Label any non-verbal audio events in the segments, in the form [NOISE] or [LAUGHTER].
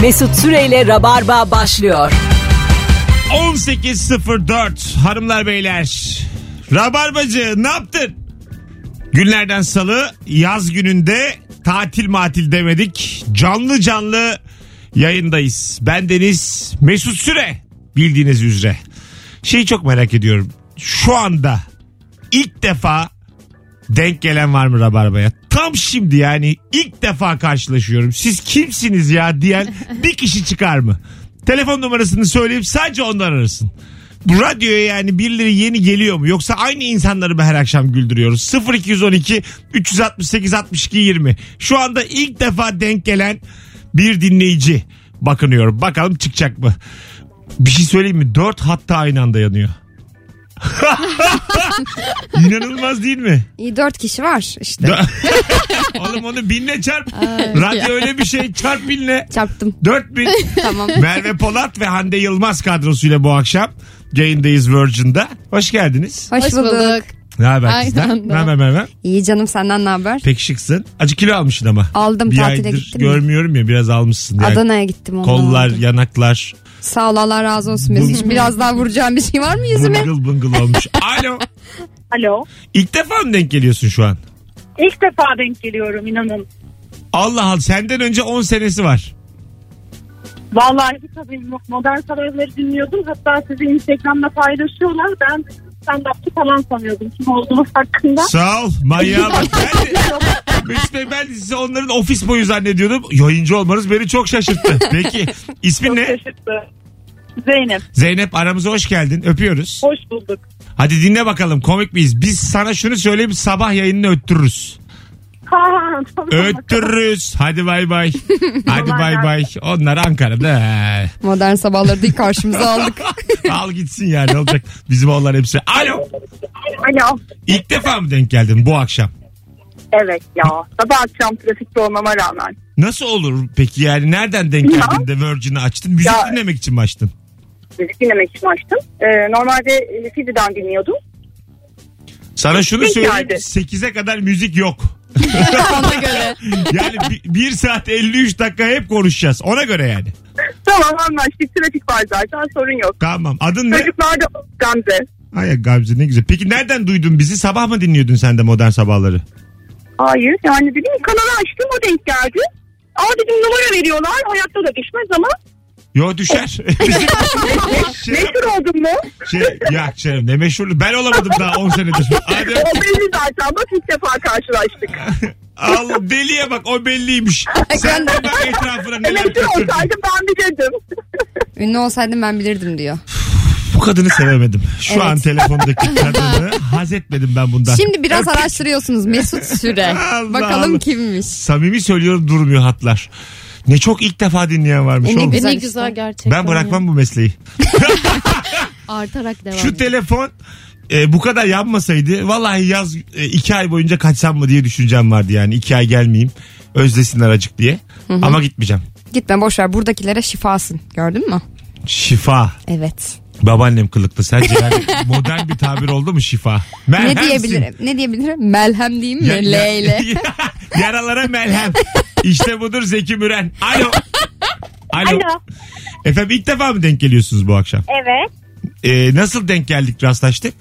Mesut Süreyle Rabarba başlıyor. 18.04 hanımlar beyler. Rabarbacı ne yaptın? Günlerden salı yaz gününde tatil matil demedik. Canlı canlı yayındayız. Ben Deniz Mesut Süre bildiğiniz üzere. Şeyi çok merak ediyorum. Şu anda ilk defa denk gelen var mı Rabarba'ya? Tam şimdi yani ilk defa karşılaşıyorum. Siz kimsiniz ya diyen bir kişi çıkar mı? Telefon numarasını söyleyip sadece ondan arasın. Bu radyoya yani birileri yeni geliyor mu? Yoksa aynı insanları mı her akşam güldürüyoruz? 0212 368 62 20. Şu anda ilk defa denk gelen bir dinleyici bakınıyor. Bakalım çıkacak mı? Bir şey söyleyeyim mi? Dört hatta aynı anda yanıyor. [LAUGHS] İnanılmaz değil mi? İyi dört kişi var işte. Dö- [LAUGHS] Oğlum onu binle çarp. Radyo öyle bir şey çarp binle. Çarptım. [LAUGHS] 4000. Tamam. Merve Polat ve Hande Yılmaz kadrosuyla bu akşam yayındayız Virgin'da. Hoş geldiniz. Hoş, Hoş bulduk. bulduk. Ne haber Aynı kızlar? anda. Merve merve. İyi canım senden ne haber? Pek şıksın. Acı kilo almışsın ama. Aldım, bir tatile aydır gittim ya. Görmüyorum ya biraz almışsın. Yani Adana'ya gittim ondan. Kollar, oldu. yanaklar. Sağ ol Allah razı olsun Mesut. Biraz daha vuracağım bir şey var mı yüzüme? Bıngıl bıngıl [LAUGHS] olmuş. Alo. Alo. İlk defa mı denk geliyorsun şu an? İlk defa denk geliyorum inanın. Allah Allah senden önce 10 senesi var. Vallahi hiç haberim yok. Modern sabahları dinliyordum. Hatta sizi Instagram'da paylaşıyorlar. Ben stand-upçı falan sanıyordum. Kim olduğunuz hakkında. Sağ ol. Manyağa [LAUGHS] bak. Ben de, Mesut Bey ben sizi onların ofis boyu zannediyordum. Yayıncı olmanız beni çok şaşırttı. Peki ismin Çok ne? şaşırttı. Zeynep Zeynep aramıza hoş geldin. Öpüyoruz. hoş bulduk. Hadi dinle bakalım komik miyiz? Biz sana şunu söyleyeyim sabah yayınını öttürürüz. Ha, ha, tamam. Öttürürüz. Hadi bay bay. Hadi bay bay. Onlar Ankara'da. Modern [LAUGHS] sabahları değil karşımıza aldık. Al gitsin yani ne olacak. Bizim onlar hepsi. Alo. Alo. İlk defa mı denk geldin bu akşam? Evet ya. Sabah akşam trafikte olmama rağmen. Nasıl olur peki yani nereden denk Ya. geldin de Virgin'i açtın? Müzik Ya. dinlemek için mi açtın? Müzik dinlemek için açtım. Ee, normalde e, Fizi'den dinliyordum. Sana şunu Peki söyleyeyim. hadi. 8'e kadar müzik yok. Ona [LAUGHS] göre. Yani 1 saat 53 dakika hep konuşacağız. Ona göre yani. Tamam anlaştık. Trafik var zaten sorun yok. Tamam. Adın ne? Çocuklar da Gamze. Ay Gamze ne güzel. Peki nereden duydun bizi? Sabah mı dinliyordun sen de modern sabahları? Hayır yani dedim kanalı açtım o denk geldi. Aa dedim numara veriyorlar hayatta da düşmez ama Yo [LAUGHS] düşer. Bizim- şey, meşhur oldum mu? şey, ya canım ne meşhurlu. Ben olamadım daha 10 senedir. Hadi. [LAUGHS] O belli zaten bak ilk defa karşılaştık. Al deliye bak o belliymiş. Sen de bak etrafına neler E, meşhur kaçırdın. olsaydım ben bilirdim. Ünlü olsaydım ben bilirdim diyor. Bu kadını sevemedim. Şu Evet. an telefondaki [LAUGHS] kadını haz etmedim ben bundan. Şimdi biraz araştırıyorsunuz Mesut Süre. [LAUGHS] Allah Bakalım Allah. kimmiş. Samimi söylüyorum durmuyor hatlar. Ne çok ilk defa dinleyen varmış E ne oğlum. güzel. ne işte. güzel gerçekten. Ben bırakmam bu mesleği. ya. Artarak devam Şu ediyor. telefon e, bu kadar yanmasaydı vallahi yaz e, iki ay boyunca kaçsam mı diye düşüncem vardı yani. iki ay gelmeyeyim özlesinler acık diye. Ama gitmeyeceğim. Gitme boşver buradakilere şifasın. Gördün mü? Şifa. Evet. Babaannem kılıklı. Sence yani [LAUGHS] modern bir tabir oldu mu şifa? Merhemsin. Ne diyebilirim? Ne diyebilirim? Melhem diyeyim Ya- mi? ya- [LAUGHS] Leyle. Yaralara melhem. İşte budur Zeki Müren. Alo. Alo. Alo. Efendim ilk defa mı denk geliyorsunuz bu akşam? Evet. E, nasıl denk geldik rastlaştık?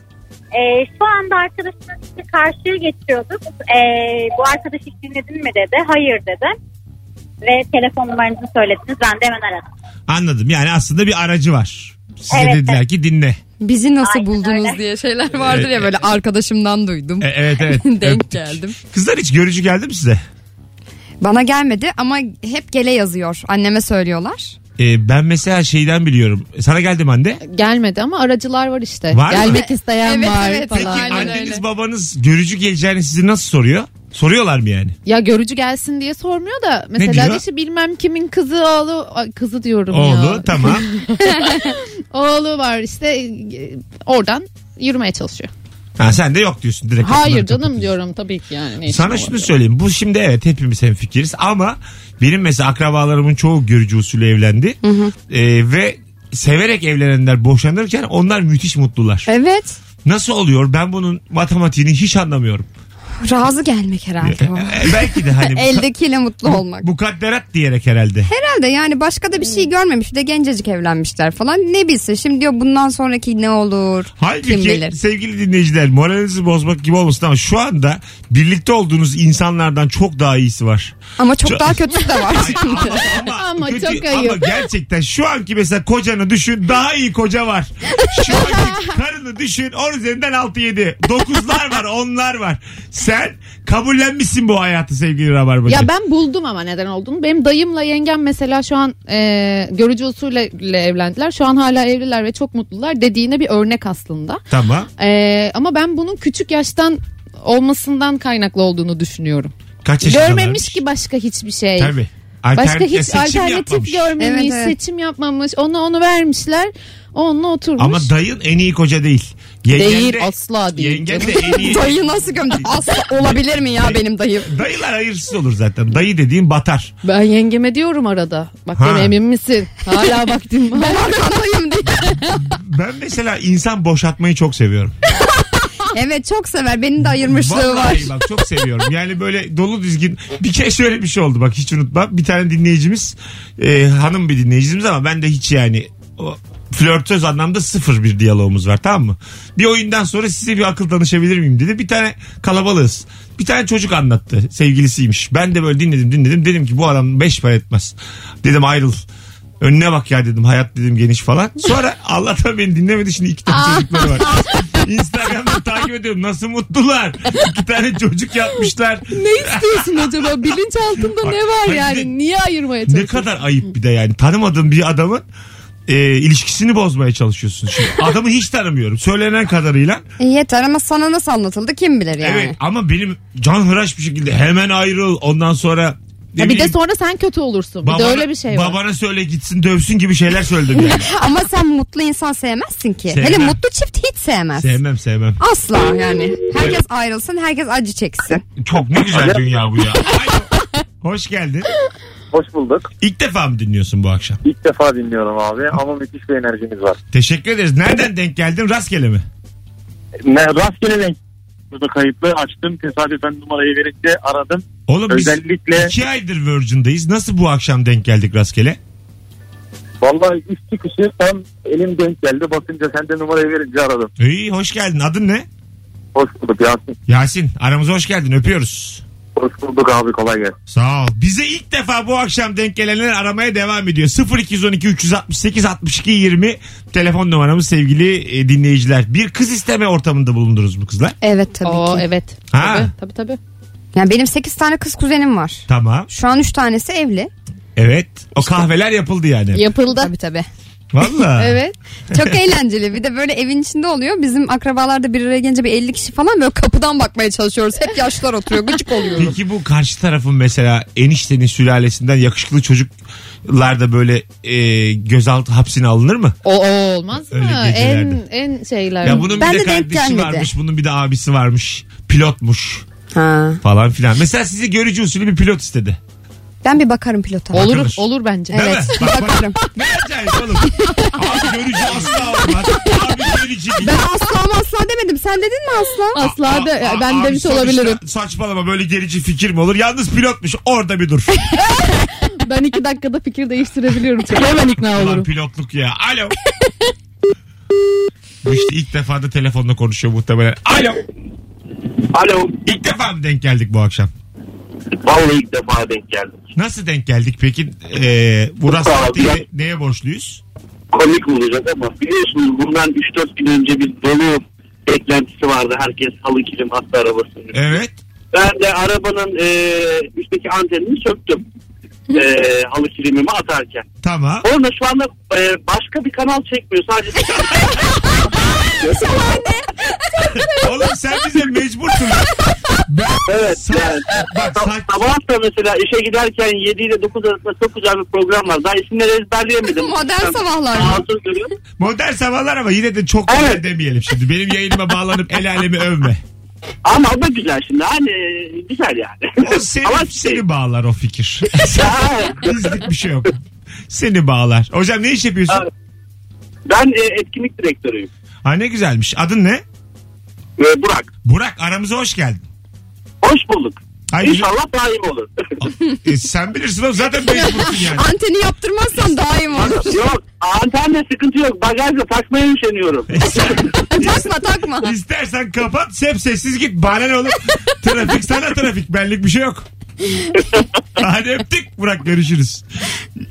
Ee, şu anda arkadaşımın işte karşıya geçiyorduk. Ee, bu arkadaş hiç dinledin mi dedi. Hayır dedi. Ve telefon numaranızı söylediniz. Ben de hemen aradım. Anladım yani aslında bir aracı var. Size Evet, dediler ki dinle. Bizi nasıl Aynen buldunuz öyle. diye şeyler vardır ya Evet. böyle arkadaşımdan duydum. E, evet evet. [LAUGHS] Denk Öptük. geldim. Kızlar hiç görücü geldi mi size? Bana gelmedi ama hep gele yazıyor. Anneme söylüyorlar. E, ben mesela şeyden biliyorum. E, Sana geldim anne. Gelmedi ama aracılar var işte. Var mı? Gelmek isteyen Evet, var evet. Peki falan. Aynen anneniz öyle. babanız görücü geleceğini sizi nasıl soruyor? Soruyorlar mı yani? Ya görücü gelsin diye sormuyor da mesela diyor? de işte bilmem kimin kızı oğlu Ay, kızı diyorum Oğlu ya. tamam. Oğlu var işte e, oradan yürümeye çalışıyor. Ha, sen de yok diyorsun direkt. Hayır E, kapıları canım kapatıyorsun. diyorum tabii ki yani. ne işim Sana olabilir? şunu söyleyeyim. Bu şimdi evet hepimiz hemfikiriz ama benim mesela akrabalarımın çoğu görücü usulü evlendi. E, ve severek evlenenler boşanırken onlar müthiş mutlular. Evet. Nasıl oluyor? Ben bunun matematiğini hiç anlamıyorum. Razı gelmek [LAUGHS] herhalde bu. E, belki de [LAUGHS] hani bu Eldekiyle mutlu olmak. mukadderat diyerek herhalde. Herhalde yani başka da bir şey görmemiş. Bir de gencecik evlenmişler falan. Ne bilsin şimdi diyor bundan sonraki ne olur? Kim Halbuki bilir? sevgili dinleyiciler moralinizi bozmak gibi olmasın ama şu anda birlikte olduğunuz insanlardan çok daha iyisi var. Ama çok Çok- daha kötüsü [LAUGHS] de var. Ama çok ama ayıp. gerçekten şu anki mesela kocanı düşün daha iyi koca var. Şu anki karını düşün 10 üzerinden 6-7. 9'lar var 10'lar var. Sen kabullenmişsin bu hayatı sevgili Rabarbacı. Ya ben buldum ama neden olduğunu. Benim dayımla yengem mesela şu an e, görücü usulüyle evlendiler. Şu an hala evliler ve çok mutlular dediğine bir örnek aslında. Tamam. E, ama ben bunun küçük yaştan olmasından kaynaklı olduğunu düşünüyorum. Kaç yaşındalar? Görmemiş ki başka hiçbir şey. Tabii. Başka Alternatif- hiç seçim yapmamış. alternatif görmemiş, Evet, evet. seçim yapmamış. Ona onu vermişler. Onunla oturmuş. Ama dayın en iyi koca değil. Yengen Değil, de- asla değil. Yengen de en iyi. Dayı nasıl gömdü? Asla olabilir mi ya benim dayım? Dayılar hayırsız olur zaten. Dayı dediğin batar. ben yengeme diyorum arada. Bak Ha. gene emin misin? [LAUGHS] Hala vaktim var. Arkandayım diye. Ben mesela insan boşaltmayı çok seviyorum. Evet çok sever. Benim de ayırmışlığı var. Vallahi bak çok seviyorum. Yani böyle dolu dizgin. Bir kere şöyle bir şey oldu bak hiç unutma. Bir tane dinleyicimiz e, hanım bir dinleyicimiz ama ben de hiç yani o, flörtöz anlamda sıfır bir diyalogumuz var tamam mı? Bir oyundan sonra size bir akıl danışabilir miyim dedi. Bir tane kalabalığız. Bir tane çocuk anlattı sevgilisiymiş. Ben de böyle dinledim dinledim. Dedim ki bu adam beş para etmez. Dedim ayrıl. Önüne bak ya dedim hayat dedim geniş falan. [LAUGHS] Sonra Allah'tan beni dinlemedi şimdi iki tane çocukları var. Instagram'da takip ediyorum. Nasıl mutlular. İki tane çocuk yapmışlar. ne istiyorsun acaba? Bilinçaltında ne var Hayır, yani? Niye ayırmaya Ne çalışıyorsun? kadar ayıp bir de yani. Tanımadığın bir adamın e, ilişkisini bozmaya çalışıyorsun. Şimdi adamı hiç tanımıyorum. Söylenen kadarıyla. E, yeter ama sana nasıl anlatıldı kim bilir yani. Evet ama benim canhıraş bir şekilde hemen ayrıl. Ondan sonra ne Ya bir de bileyim, sonra sen kötü olursun. bir de babana- öyle bir şey var. Babana söyle gitsin dövsün gibi şeyler söyledim [LAUGHS] yani. [LAUGHS] Ama sen mutlu insan sevmezsin ki. Sevmem. Hele mutlu çift hiç sevmez. sevmem sevmem. Asla yani. Herkes ayrılsın, herkes acı çeksin. Çok ne güzel dünya bu ya. Alo. Hoş geldin. Hoş bulduk. İlk defa mı dinliyorsun bu akşam? İlk defa dinliyorum abi ama müthiş bir enerjiniz var. Teşekkür ederiz. Nereden denk geldin? Rastgele mi? Ne, rastgele denk. Burada kayıtlı açtım. Tesadüfen numarayı verince aradım. Oğlum biz Özellikle- iki aydır Virgin'dayız. Nasıl bu akşam denk geldik rastgele? Vallahi üç çıkışı tam elim denk geldi. Bakınca sen de numarayı verince aradım. İyi hoş geldin. Adın ne? Hoş bulduk Yasin. Yasin. Aramıza hoş geldin. Öpüyoruz. Hoş bulduk abi kolay gelsin. Sağ ol. Bize ilk defa bu akşam denk gelenler aramaya devam ediyor. 0212 368 62 20 telefon numaramız sevgili e, dinleyiciler. Bir kız isteme ortamında bulundunuz mu kızlar? Evet tabii Oo ki. evet. Ha. Tabii tabii. tabii. Yani benim 8 tane kız kuzenim var. Tamam. Şu an 3 tanesi evli. Evet. O kahveler yapıldı yani. Yapıldı. Tabii tabii. Valla. [LAUGHS] Evet. Çok eğlenceli. Bir de böyle evin içinde oluyor. Bizim akrabalarda bir araya gelince bir 50 kişi falan böyle kapıdan bakmaya çalışıyoruz. Hep yaşlar oturuyor. Gıcık oluyorum. Peki bu karşı tarafın mesela eniştenin sülalesinden yakışıklı çocuklar da böyle e, gözaltı hapsine alınır mı? O, o olmaz Öyle mı? En gecelerde. en şeyler. Ya bunun Ben bir de, de denk kardeşi gelmedi. varmış, bunun bir de abisi varmış, pilotmuş [LAUGHS] Ha. falan filan. Mesela sizi görücü usulü bir pilot istedi. Ben bir bakarım pilota. olur Bakılır. olur bence. Değil Evet, mi? Bak, bak. bakarım. Ne acayip oğlum. Abi görücü asla olmaz. Abi görücü değil. Ben asla ama asla demedim. Sen dedin mi asla? Asla da Aa, ben abi demiş sonuçta olabilirim. Saçmalama böyle gerici fikir mi olur? Yalnız pilotmuş orada bir dur. Ben iki dakikada fikir değiştirebiliyorum. çünkü [LAUGHS] Hemen ikna Ulan olurum. pilotluk ya. Alo. [LAUGHS] Bu işte ilk defa da telefonla konuşuyor muhtemelen. Alo. Alo. İlk defa mı denk geldik bu akşam? Vallahi ilk defa denk geldim. Nasıl denk geldik peki? Ee, bu rastlantıyı neye borçluyuz? komik olacak ama biliyorsunuz bundan 3-4 gün önce bir dolu beklentisi vardı. Herkes halı kilim hatta arabasını. Evet. Ben de arabanın e, üstteki antenini söktüm. E, halı kilimimi atarken. Tamam. Orada şu anda e, başka bir kanal çekmiyor. Sadece Oğlum sen bize mecbursun. lan. Ben, Evet, Sa- yani. Bak sa- sabah da mesela işe giderken 7 ile 9 arasında çok güzel bir program var. Daha isimleri ezberleyemedim. [LAUGHS] Modern sabahlar. Rahatsız duruyorum. modern sabahlar ama yine de çok Evet. güzel demeyelim şimdi. Benim yayınıma bağlanıp el alemi övme. Ama o da güzel şimdi. Hani güzel yani. O seni, [LAUGHS] Ama şey, seni bağlar o fikir. [LAUGHS] Ya, Bizlik bir şey yok. Seni bağlar. Hocam ne iş yapıyorsun? Evet. Ben e, etkinlik direktörüyüm. Ha ne güzelmiş. Adın ne? E, Burak. [LAUGHS] Burak aramıza hoş geldin. Hoş bulduk. Ay, İnşallah daim olur. E, sen bilirsin oğlum zaten mecbursun yani. Anteni yaptırmazsan daim olur. yok antende sıkıntı yok. Bagajla takmaya [LAUGHS] üşeniyorum. [LAUGHS] takma takma. İstersen kapat hep sessiz git. Bana ne olur. trafik sana trafik. Benlik bir şey yok. [LAUGHS] Hadi öptük. Burak görüşürüz.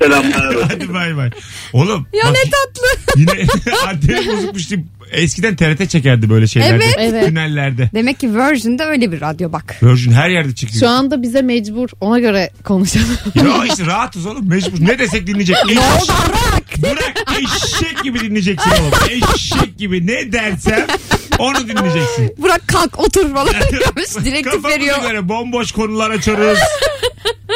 Selamlar. Hadi bay bay. Oğlum. Ya bak, ne tatlı. Yine [LAUGHS] anteni bozukmuş diye- Eskiden TRT çekerdi böyle şeylerde. Evet. Evet. Tünellerde. Demek ki Virgin'de öyle bir radyo bak. Virgin her yerde çıktı. Şu anda bize mecbur ona göre konuşalım. Ya işte rahatız oğlum mecbur. Ne desek dinleyecek. Ne Eş- oldu Arak? Bırak eşek gibi dinleyeceksin oğlum. Eşek gibi ne dersem onu dinleyeceksin. Burak kalk otur falan [LAUGHS] diyormuş. Direktif Kafamıza veriyor. göre bomboş konular açarız.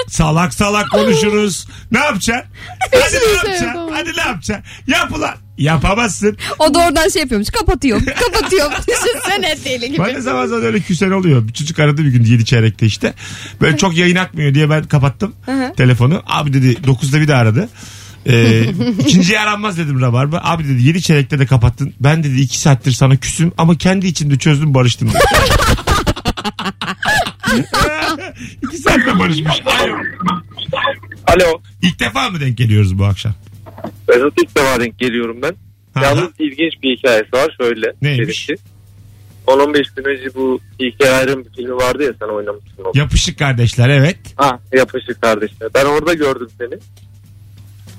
Salak salak konuşuruz. Ne yapacaksın? Hadi şey ne yapacaksın? yapamam. Hadi ne yapacaksın? Yap ulan. Yapamazsın. O da oradan şey yapıyormuş. [LAUGHS] Kapatıyor. Kapatıyor. Düşünsene deli gibi. Ben de zaman zaman öyle küsen oluyor. Bir çocuk aradı bir gün 7 çeyrekte işte. Böyle çok yayın akmıyor diye ben kapattım telefonu. Abi dedi 9'da bir de aradı. Ee, ikinciyi aranmaz dedim Rabarba. Abi dedi 7 çeyrekte de kapattın. Ben dedi 2 saattir sana küsüm ama kendi içinde çözdüm [LAUGHS] barıştım. 2 saatte barışmış. Alo. Alo. İlk defa mı denk geliyoruz bu akşam? Mesut ilk defa denk geliyorum ben. Aha. Yalnız ilginç bir hikayesi var şöyle. Neymiş? Benimki. 10-15 gün önce bu İlker Ayrım bir filmi vardı ya sen oynamışsın onu. Yapışık kardeşler evet. Ha, yapışık kardeşler. Ben orada gördüm seni.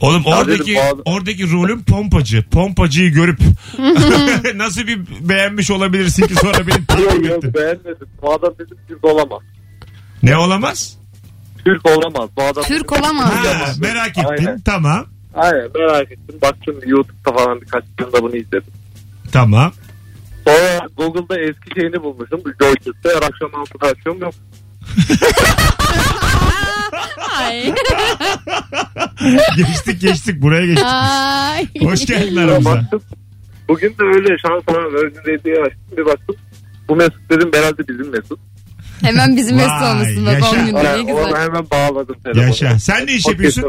Oğlum Ya oradaki dedim bazı- oradaki rolün pompacı. Pompacıyı görüp [LAUGHS] nasıl bir beğenmiş olabilirsin ki sonra [LAUGHS] beni Yok takip yok ettin. beğenmedim. Bu adam dedim Türk olamaz. Ne olamaz? Türk olamaz. Bu adam Türk olamaz. Ha, merak ettin. Aynen. Tamam. Aynen merak ettim. Baktım YouTube'da falan birkaç yılda bunu izledim. Tamam. [LAUGHS] Sonra Google'da eski şeyini bulmuşum. Bu Joytürk'te her akşam altı açıyorum yok. Ay. geçtik geçtik buraya geçtik. Ay. Hoş geldin Sonra aramıza. baktım. Bugün de öyle şans falan Virgin Radio'yu açtım. Bir baktım. Bu Mesut dedim herhalde bizim Mesut. Hemen bizim Vay, mesut olmasın yaşa. bak 10 günde ne Ona, güzel. ona hemen bağladım telefonu. Yaşa. Sen ne iş yapıyorsun?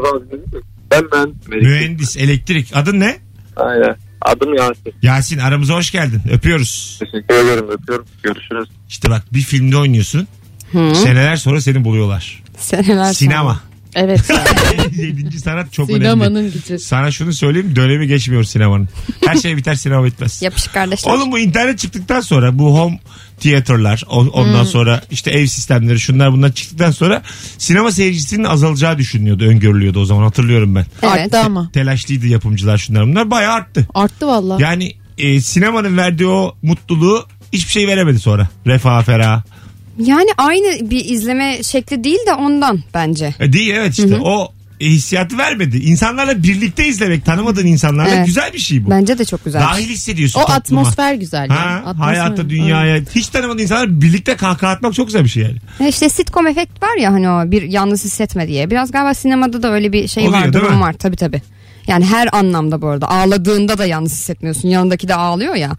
Ben ben. Mühendis, elektrik. Adın ne? Aynen. Adım Yasin. Yasin aramıza hoş geldin. Öpüyoruz. Teşekkür ederim. Öpüyorum. Görüşürüz. İşte bak bir filmde oynuyorsun. Seneler sonra seni buluyorlar. Seneler Sinema. Evet. [LAUGHS] Yedinci sanat çok önemli. [LAUGHS] Sinemanın gücü. Sana şunu söyleyeyim dönemi geçmiyor sinemanın. Her şey biter sinema bitmez. Yapışık kardeşler. Oğlum bu internet çıktıktan sonra bu home tiyatrolar o- ondan Hmm. sonra işte ev sistemleri şunlar bunlar çıktıktan sonra sinema seyircisinin azalacağı düşünülüyordu öngörülüyordu o zaman hatırlıyorum ben. Evet. Arttı ama. Telaşlıydı yapımcılar şunlar bunlar bayağı arttı. Arttı valla. Yani e, sinemanın verdiği o mutluluğu hiçbir şey veremedi sonra. Refah ferah. Yani aynı bir izleme şekli değil de ondan bence. E, değil evet işte o e, hissiyatı vermedi. İnsanlarla birlikte izlemek tanımadığın insanlarla Evet. güzel bir şey bu. Bence de çok güzel. Dahil hissediyorsun O topluma. atmosfer güzel. yani. Ha, Atmosfer. hayata dünyaya hiç tanımadığın insanlar birlikte kahkaha atmak çok güzel bir şey yani. Ya İşte sitcom efekt var ya hani o bir yalnız hissetme diye. Biraz galiba sinemada da öyle bir şey Oluyor, var değil durum mi? var tabii tabii. Yani her anlamda bu arada ağladığında da yalnız hissetmiyorsun yanındaki de ağlıyor ya.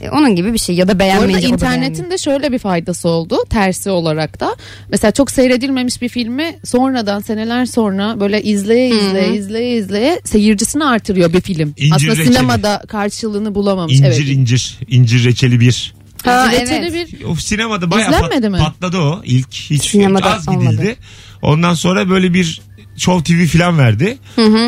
E, onun gibi bir şey ya da Bu arada beğenmeyince o da beğenmiyor. internetin de şöyle bir faydası oldu tersi olarak da. Mesela çok seyredilmemiş bir filmi sonradan seneler sonra böyle izleye izleye izleye izleye seyircisini artırıyor bir film. İncir Aslında reçeli. sinemada karşılığını bulamamış. İncir evet. incir. incir reçeli bir. Ha, İncir reçeli evet. bir O sinemada bayağı İzlenmedi pat- mi? patladı o. İlk hiç Sinemada az gidildi. olmadı. Ondan sonra böyle bir Show TV filan verdi.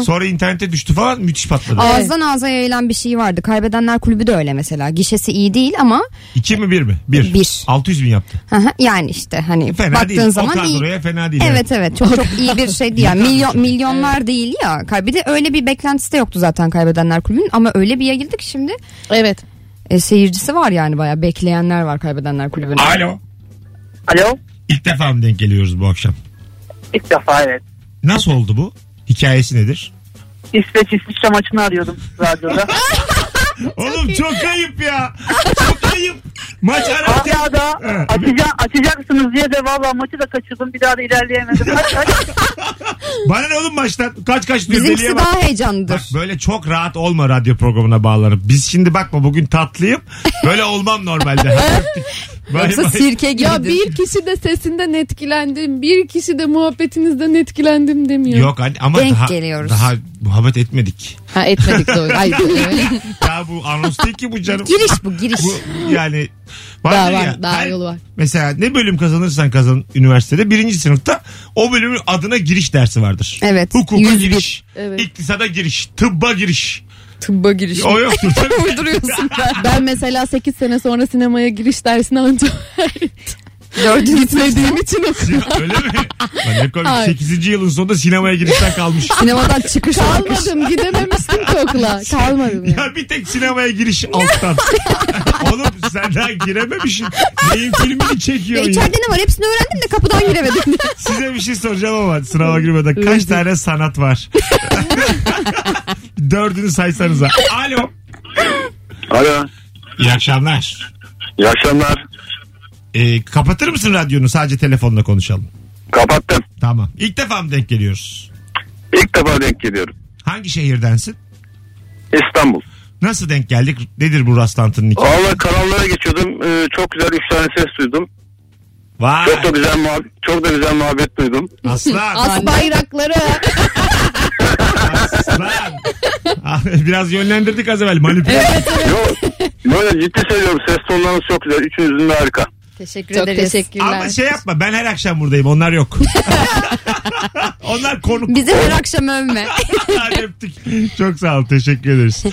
Sonra internete düştü falan müthiş patladı. Ağızdan ağza yayılan bir şey vardı. Kaybedenler kulübü de öyle mesela. Gişesi iyi değil ama İki mi bir mi? Bir. Bir. 600 bin yaptı. hı hı, yani işte hani Fena baktığın değil. o zaman iyi. kadroya fena değil. Evet evet çok çok iyi bir şey [LAUGHS] değil. Yani Yıkanmış milyon- çocuk. milyonlar değil ya. Kay- Bir de öyle bir beklentisi de yoktu zaten Kaybedenler Kulübü'nün ama öyle bir yayıldı ki şimdi evet. E, seyircisi var yani bayağı bekleyenler var kaybedenler kulübünün. Alo. Alo. İlk defa mı denk geliyoruz bu akşam? İlk defa evet. Nasıl oldu bu? Hikayesi nedir? İsveç İsviçre maçını arıyordum radyoda. Oğlum çok ayıp ya. Çok ayıp. Maç arası. Hala da açacak, açacaksınız diye de valla maçı da kaçırdım. Bir daha da ilerleyemedim. Kaç kaç. Bana ne oğlum maçtan? Kaç kaç diyor deliye Bizimkisi bak. daha Bak heyecanlıdır. böyle çok rahat olma radyo programına bağlanıp. Biz şimdi bakma bugün tatlıyım. Böyle olmam normalde. Hadi öptük. Bay Yoksa bay. sirke gibidir. Ya bir kişi de sesinden etkilendim. Bir kişi de muhabbetinizden etkilendim demiyor. Yok anne ama Denk daha, geliyoruz. daha muhabbet etmedik. [LAUGHS] Ha etmedik doğru. Ay, evet. Daha ya bu anons değil ki bu canım. Giriş bu giriş. Bu yani Daha vardır var, ya, daha her- yolu var. Mesela ne bölüm kazanırsan kazan üniversitede birinci sınıfta o bölümün adına giriş dersi vardır. Evet, Hukuka 101. giriş, Evet. iktisada giriş, tıbba giriş. Tıbba giriş. O yoktur tabii. [LAUGHS] Uyduruyorsun ben. Ben mesela 8 sene sonra sinemaya giriş dersine ancak Dördüncü gitmediğim için okudum. Ya Öyle mi? Lan ne komik. Hayır. 8. yılın sonunda sinemaya girişten kalmış. Sinemadan çıkış olmuş. Kalmadım gidememiştim ki okula. Kalmadım ya. Ya bir tek sinemaya giriş alttan. Oğlum sen daha girememişsin. Neyin filmini Ya çekiyorsun ya? içeride ne var hepsini öğrendim de kapıdan giremedim. Size bir şey soracağım ama sınava girmeden kaç tane sanat var? [LAUGHS] Dördünü saysanıza. Alo. Alo. İyi akşamlar. İyi akşamlar. Ee, kapatır mısın radyonu? Sadece telefonla konuşalım. Kapattım. Tamam. İlk defa mı denk geliyoruz? İlk defa denk geliyorum. Hangi şehirdensin? İstanbul. Nasıl denk geldik? Nedir bu rastlantının hikayesi? Valla kanallara geçiyordum. Ee, çok güzel 3 tane ses duydum. Vay. Çok da güzel muhabbet, çok da güzel muhabbet duydum. Aslan. As bayrakları. aslan. Ah, Biraz yönlendirdik az evvel. Manipülasyon. Yok. Böyle ciddi söylüyorum ses tonlarınız çok güzel. Üçünüzün de harika. Teşekkür Çok ederiz. Ama teşekkürler. şey yapma ben her akşam buradayım. Onlar yok. [LAUGHS] Onlar [LAUGHS] konuk. [LAUGHS] Bizi her akşam [LAUGHS] övme. Hadi öptük. Çok sağ ol. Teşekkür ederiz.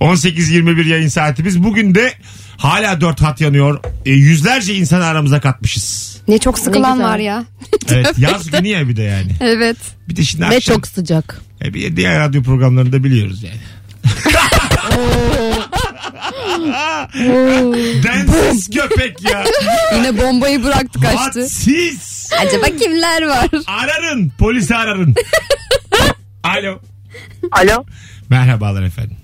18.21 yayın saatimiz. Bugün de hala dört hat yanıyor. E, yüzlerce insanı aramıza katmışız. ne çok sıkılan güzel. var ya. Evet, yaz günü ya bir de yani. Evet. Bir de şimdi Ve akşam. çok sıcak. E, bir de diğer radyo programlarında biliyoruz [LAUGHS] yani. [LAUGHS] Densiz köpek ya. Yine bombayı bıraktı kaçtı. Hadsiz. Acaba kimler var? Ararın. Polisi ararın. Alo. Alo. Merhabalar efendim.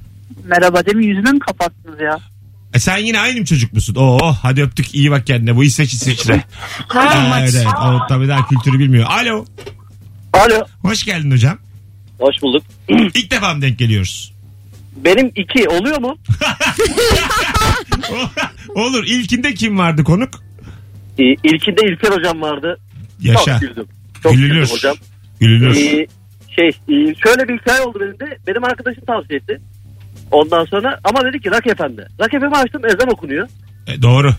Merhaba demin yüzüme mi kapattınız ya? E sen yine aynı mı çocuk musun? Oo hadi öptük iyi bak kendine. Bu İsveç İsveç'te. [LAUGHS] Ha, evet, evet. O tabii daha kültürü bilmiyor. Alo. Alo. Hoş geldin hocam. Hoş bulduk. İlk defa mı denk geliyoruz? [LAUGHS] Benim iki oluyor mu? Olur. İlkinde kim vardı konuk? Ee, ilkinde İlker hocam vardı. Yaşa. Çok güldüm. Çok Gülünür. güldüm hocam. Gülünür. Ee, şey e, şöyle bir hikaye oldu benim de. Benim arkadaşım tavsiye etti. Ondan sonra ama dedi ki Rak Efendi. Rak Efendi açtım ezan okunuyor. E, doğru.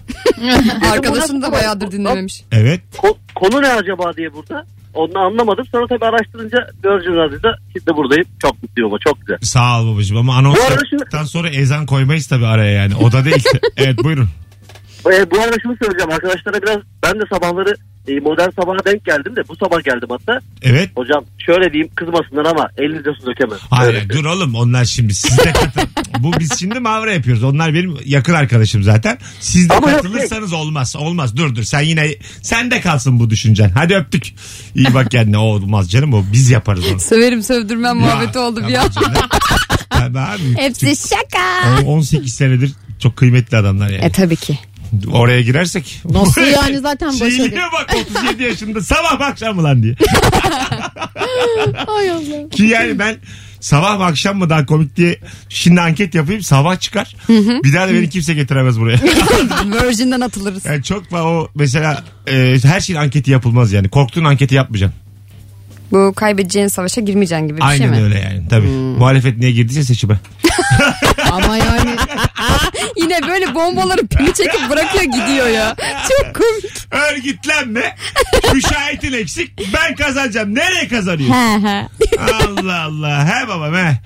[LAUGHS] Arkadaşım da bayağıdır dinlememiş. Evet. Ko- konu ne acaba diye burada. Onu anlamadım. Sonra tabii araştırınca Virgin Radio'da şimdi buradayım. Çok mutluyum ama çok güzel. Sağ ol babacığım ama Bu arada anonsdan sonra ezan koymayız tabii araya yani. O da değil. [LAUGHS] evet buyurun. E, Ee, bu arada şunu söyleyeceğim. Arkadaşlara biraz ben de sabahları e, modern sabaha denk geldim de bu sabah geldim hatta. Evet. Hocam şöyle diyeyim kızmasınlar ama elinize su dökemez. Hayır dur oğlum onlar şimdi siz de katılın. Bu biz şimdi mavra yapıyoruz. Onlar benim yakın arkadaşım zaten. Siz de Ama yok, katılırsanız olmaz. Olmaz. Dur dur sen yine sen de kalsın bu düşüncen. Hadi öptük. İyi bak kendine. O olmaz canım o. Biz yaparız onu. Söverim sövdürmem muhabbeti oldu bir ya. an. tamam canım. Tabii abi. [LAUGHS] Hepsi şaka. On- 18 senedir çok kıymetli adamlar yani. E tabii [LAUGHS] ki. Oraya girersek. [LAUGHS] Nasıl yani zaten başarı. Çiğliğe bak 37 yaşında sabah mı akşam mı lan diye. Ay Allah. Ki yani ben sabah mı akşam mı daha komik diye şimdi anket yapayım sabah çıkar. Bir daha da beni kimse getiremez [LAUGHS] buraya. Virgin'den atılırız. Yani çok fa- o mesela e, her şeyin anketi yapılmaz yani. Korktuğun anketi yapmayacaksın. Bu kaybedeceğin savaşa girmeyeceğin gibi bir şey Aynen mi? Hmm. öyle yani tabii. Muhalefet niye girdiyse seçime. Ama yani Yine böyle bombaları pini çekip bırakıyor gidiyor ya. Çok komik. Örgütlenme. [LAUGHS] Müşahitin eksik. Ben kazanacağım. Nereye kazanıyorsun? Allah Allah. He babam [LAUGHS] he.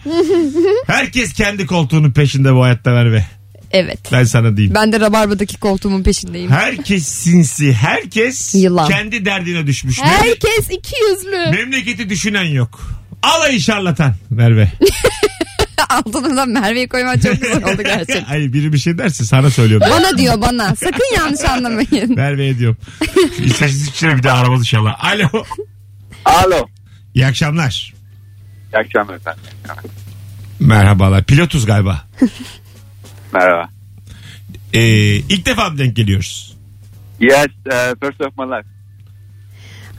Herkes kendi koltuğunun peşinde bu hayatta ver be. Evet. Ben sana diyeyim. Ben de Rabarba'daki koltuğumun peşindeyim. Herkes sinsi. Herkes Yılan. kendi derdine düşmüş. Memle- herkes iki yüzlü. memleketi düşünen yok. Alayı şarlatan Merve. Altından Merve'yi koyman çok güzel oldu gerçekten. [LAUGHS] Ay biri bir şey derse sana söylüyorum. Bana diyor bana. Sakın yanlış anlamayın. Merve'ye diyorum. İsterseniz içine bir daha aramaz inşallah. Alo. Alo. İyi akşamlar. İyi akşamlar efendim. Merhabalar. Pilotuz galiba. Merhaba. Ee, ilk defa mı denk geliyoruz? Yes, uh, first of my life.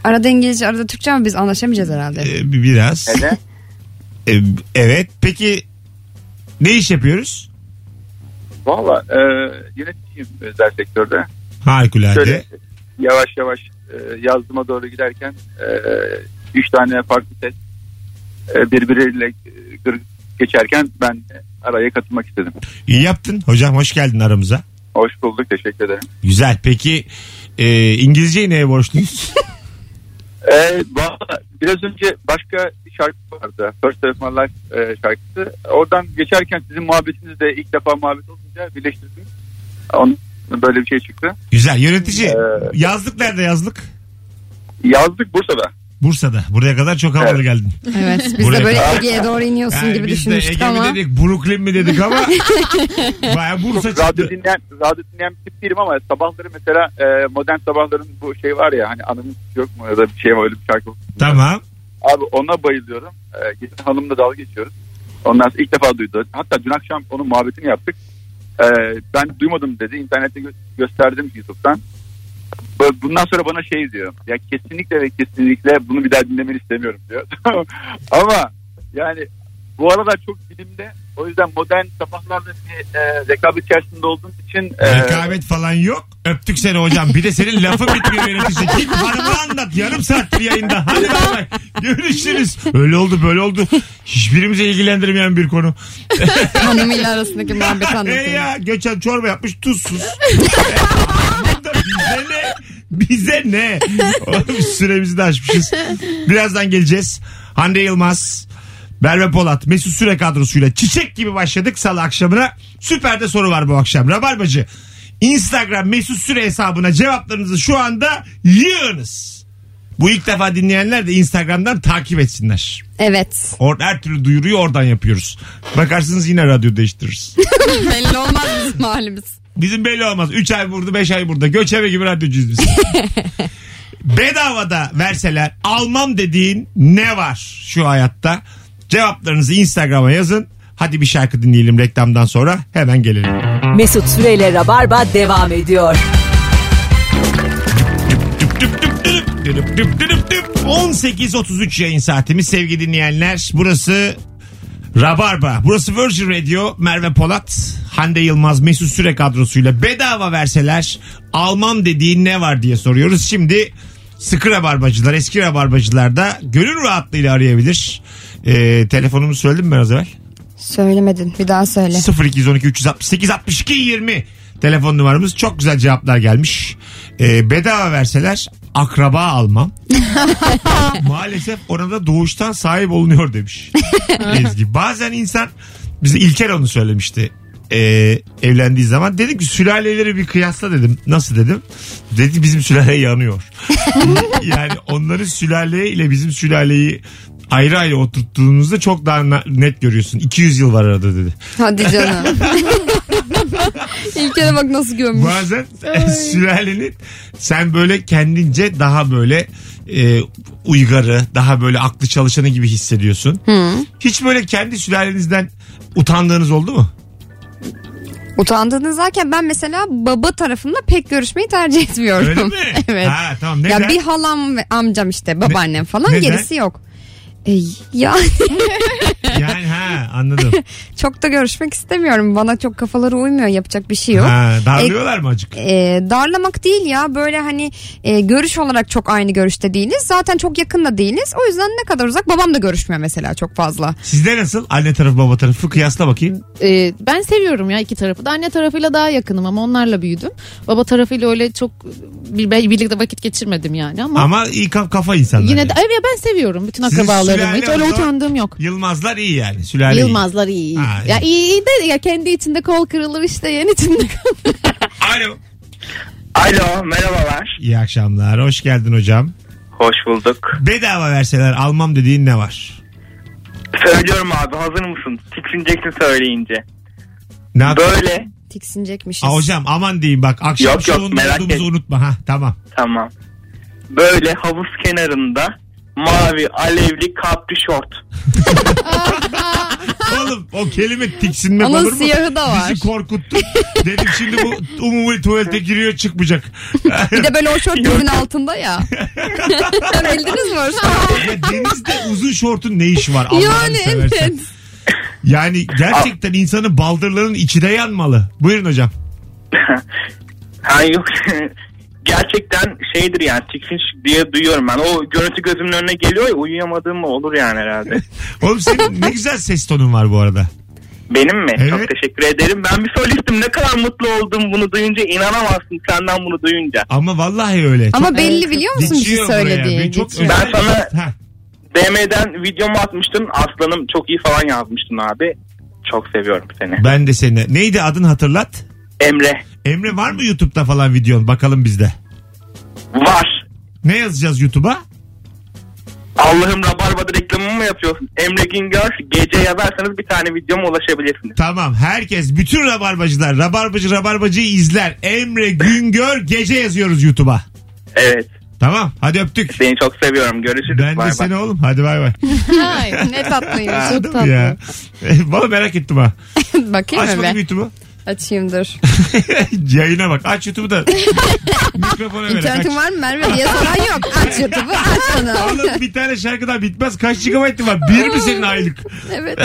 Arada İngilizce arada Türkçe ama biz anlaşamayacağız herhalde. Ee, bi- biraz. Neden? Ee, evet. Peki ne iş yapıyoruz? Valla e, yöneticiyim özel sektörde. Harikulade. Şöyle yavaş yavaş e, yazdıma doğru giderken e, üç tane farklı ses e, birbiriyle e, gır- geçerken ben araya katılmak istedim. İyi yaptın. Hocam hoş geldin aramıza. Hoş bulduk teşekkür ederim. Güzel. Peki e, İngilizceyi [LAUGHS] neye borçluyuz? Ee, valla biraz önce başka bir şarkı vardı. First Time My Life e, şarkısı. Oradan geçerken sizin muhabbetiniz de ilk defa muhabbet olunca birleştirdim. Onun böyle bir şey çıktı. Güzel. Yönetici Ee, yazlık nerede yazlık? Yazdık Bursa'da. Bursa'da. Buraya kadar çok havalı geldin. Evet biz Buraya de böyle kadar. Ege'ye doğru iniyorsun Yani gibi biz de düşünmüştük Ege ama. mi dedik, Brooklyn mi dedik [LAUGHS] ama baya Bursa Çok radyo çıktı. dinleyen, radyo dinleyen bir tip değilim ama sabahları mesela e, modern sabahların bu şey var ya hani anımız yok mu ya da bir şey var öyle bir şarkı. Tamam. Abi ona bayılıyorum. E, geçen hanımla dalga geçiyoruz. Ondan sonra ilk defa duydu. Hatta dün akşam onun muhabbetini yaptık. E, ben duymadım dedi. İnternette gö- gösterdim YouTube'dan. Böyle Bundan sonra bana şey diyor. Ya kesinlikle ve kesinlikle bunu bir daha dinlemeni istemiyorum diyor. [LAUGHS] ama yani bu aralar çok bilimde. O yüzden modern sabahlarda bir e, rekabet içerisinde olduğumuz için e, Rekabet falan yok. Öptük seni hocam. Bir de senin lafın bitmiyor yönetici. Git hanıma anlat. Yarım saattir yayında. Hadi bay bay. Görüşürüz. Öyle oldu böyle oldu. Hiçbirimizi ilgilendirmeyen bir konu. Hanımıyla arasındaki muhabbeti E anlatıyor. [LAUGHS] ya geçen çorba yapmış tuzsuz. Burada bize ne? Bize ne? Oğlum, Süremizi de aşmışız. Birazdan geleceğiz. Hande Yılmaz, Merve Polat, Mesut Süre kadrosuyla çiçek gibi başladık salı akşamına. Süper de soru var bu akşam. Rabarbacı Instagram Mesut Süre hesabına cevaplarınızı şu anda yığınız. Bu ilk defa dinleyenler de Instagram'dan takip etsinler. Evet. Or her türlü duyuruyu oradan yapıyoruz. Bakarsınız yine radyo değiştiririz. Belli olmaz bizim halimiz. Bizim belli olmaz. 3 ay burada 5 ay burada. Göçebe gibi radyocuyuz biz. Bedavada verseler almam dediğin ne var şu hayatta? Cevaplarınızı Instagram'a yazın. Hadi bir şarkı dinleyelim reklamdan sonra. Hemen gelelim. Mesut Süreyle Rabarba devam ediyor. Düp düp düp düp, düp düp düp düp. 18.33 yayın saatimiz sevgili dinleyenler. Burası Rabarba. Burası Virgin Radio. Merve Polat, Hande Yılmaz, Mesut Süre kadrosuyla bedava verseler almam dediğin ne var diye soruyoruz. Şimdi sıkı rabarbacılar, eski rabarbacılar da gönül rahatlığıyla arayabilir. Ee, telefonumu söyledim mi ben az evvel? Söylemedin bir daha söyle. 0212 368 62 20 telefon numaramız. Çok güzel cevaplar gelmiş. Ee, bedava verseler akraba almam. Maalesef orada doğuştan sahip olunuyor demiş Ezgi. Bazen insan bize İlker onu söylemişti. Ee, evlendiği zaman dedim ki sülaleleri bir kıyasla dedim. Nasıl dedim? Dedi bizim sülale yanıyor. yani onların sülale ile bizim sülaleyi ayrı ayrı oturttuğunuzda çok daha na- net görüyorsun. 200 yıl var arada dedi. Hadi canım. İlk kere bak nasıl gömmüş. Bazen [LAUGHS] sülalenin sen böyle kendince daha böyle e, uygarı, daha böyle aklı çalışanı gibi hissediyorsun. Hiç böyle kendi sülalenizden utandığınız oldu mu? Utandığınız zaten ben mesela baba tarafımla pek görüşmeyi tercih etmiyorum. Öyle mi? [LAUGHS] evet. Ha tamam. Neden? Ya bir halam ve amcam işte babaannem falan neden? gerisi yok. E, ya [LAUGHS] [LAUGHS] Yani ha anladım. çok da görüşmek istemiyorum. Bana çok kafaları uymuyor yapacak bir şey yok. Ha, darlıyorlar mı acık? E, darlamak değil ya böyle hani e, görüş olarak çok aynı görüşte değiliz. Zaten çok yakın da değiliz. O yüzden ne kadar uzak babam da görüşmüyor mesela çok fazla. Sizde nasıl? Anne tarafı baba tarafı kıyasla bakayım. Ee, ben seviyorum ya iki tarafı da. Anne tarafıyla daha yakınım ama onlarla büyüdüm. Baba tarafıyla öyle çok bir, ben birlikte vakit geçirmedim yani ama, Ama iyi kaf- kafa insanlar. yine yani. de evet ben seviyorum bütün Sizin akrabalarımı. Hiç sülale öyle o zaman- utandığım yok. Yılmazlar iyi yani. Sülale iyi. Yılmazlar iyi. iyi. Ha, ya iyi iyi de ya kendi içinde kol kırılır işte yeni içinde kol. Alo. Alo merhabalar. İyi akşamlar. Hoş geldin hocam. Hoş bulduk. Bedava verseler almam dediğin ne var? Söylüyorum abi hazır mısın? Tiksineceksin söyleyince. Ne yap- Böyle Tiksinecekmişiz. Aa, hocam aman diyeyim bak akşam Yok, yok, şovunda merak olduğumuzu etme. unutma. Ha [LAUGHS] tamam. tamam. Böyle havuz kenarında mavi alevli kapri şort. Oğlum o kelime tiksinmek Onun olur mu? siyahı da var. Bizi korkuttu. Dedim şimdi bu umumi tuvalete giriyor çıkmayacak. [LAUGHS] Bir de böyle o şort dizin altında ya. Bildiniz mi o şortu? Ya denizde uzun şortun ne işi var? Allah'ını Yani seversen. evet. Yani gerçekten insanın baldırlarının içi de yanmalı. Buyurun hocam. ha yok. [LAUGHS] gerçekten şeydir yani tiksinç diye duyuyorum ben. O görüntü gözümün önüne geliyor ya uyuyamadığım mı olur yani herhalde. Oğlum [LAUGHS] senin ne güzel ses tonun var bu arada. Benim mi? Evet. Çok teşekkür ederim. Ben bir solistim. Ne kadar mutlu oldum bunu duyunca. inanamazsın senden bunu duyunca. Ama vallahi öyle. Ama belli biliyor musun ki Geçiyor buraya. söylediği, Bir Çok şey geçiyor. özel- Ben sana- Ha. DM'den videomu atmıştın. Aslanım çok iyi falan yazmıştın abi. Çok seviyorum seni. Ben de seni. Neydi adın hatırlat? Emre. Emre var mı YouTube'da falan videon? Bakalım bizde. Var. Ne yazacağız YouTube'a? Allah'ım Rabarba'da reklamımı mı yapıyorsun? Emre Güngör gece yazarsanız bir tane videoma ulaşabilirsiniz. Tamam herkes bütün rabarbacılar rabarbacı rabarbacıyı izler. Emre Güngör gece yazıyoruz YouTube'a. Evet. Tamam hadi öptük. Seni çok seviyorum. Görüşürüz. Ben de seni oğlum hadi bay [LAUGHS] bay. ne [LAUGHS] tatlıymış. Değil mi ya? Valla merak ettim ha. Bakayım Aç mı bakayım be? YouTube'u. [LAUGHS] Açayım dur. Yayına bak. Aç YouTube'u [LAUGHS] da mikrofona ver. İnternetin var mı Merve diye soran yok. Aç YouTube'u aç onu. Oğlum bir tane şarkıdan bitmez. Kaç GB var? Bir mi senin aylık? Evet.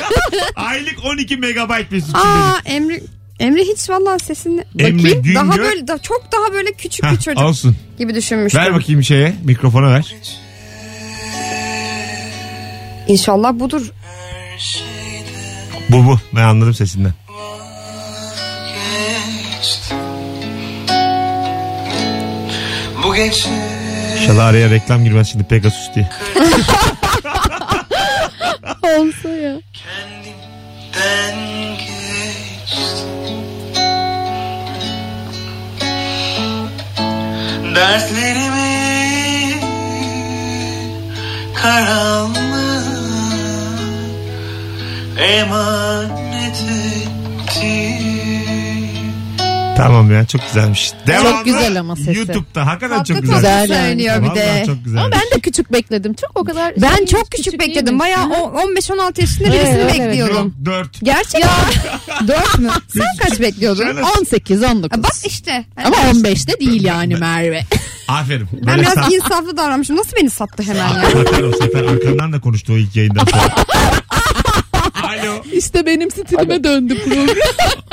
[LAUGHS] Aylık 12 megabayt mesut. Aa Emre Emre hiç vallahi sesini Emre bakayım. Güngör- Daha böyle daha, çok daha böyle küçük bir Hah, çocuk olsun. gibi düşünmüştüm. Ver bakayım şeye mikrofona ver. İnşallah budur. Bu bu ben anladım sesinden. Bu gece İnşallah araya reklam girmez şimdi Pegasus [LAUGHS] diye. Olsa ya. ben geçtim Dertlerimi karanlığa emanet ettim Tamam ya çok güzelmiş. Devamlı Çok güzel ama sesi. YouTube'da hakikaten Tatlı çok güzel. tatlı söylüyor bir Vallahi de. Çok güzel. Ama ben de küçük bekledim. Çok o kadar Ben şey, çok küçük, bekledim. değilmiş. [LAUGHS] Bayağı Hı. o- 15-16 yaşında Evet, birisini evet, evet. bekliyordum. Dört. Gerçekten. 4 mü? Sen kaç bekliyordun? 18, 19. Bak işte. Hani Ama ben- 15'te değil yani Merve. Aferin. Ben Böyle biraz sat- insaflı davranmışım. Nasıl beni sattı hemen ya? Satar o satar. Arkandan da konuştu o ilk yayından [LAUGHS] sonra. Alo. İşte benim stilime döndü program.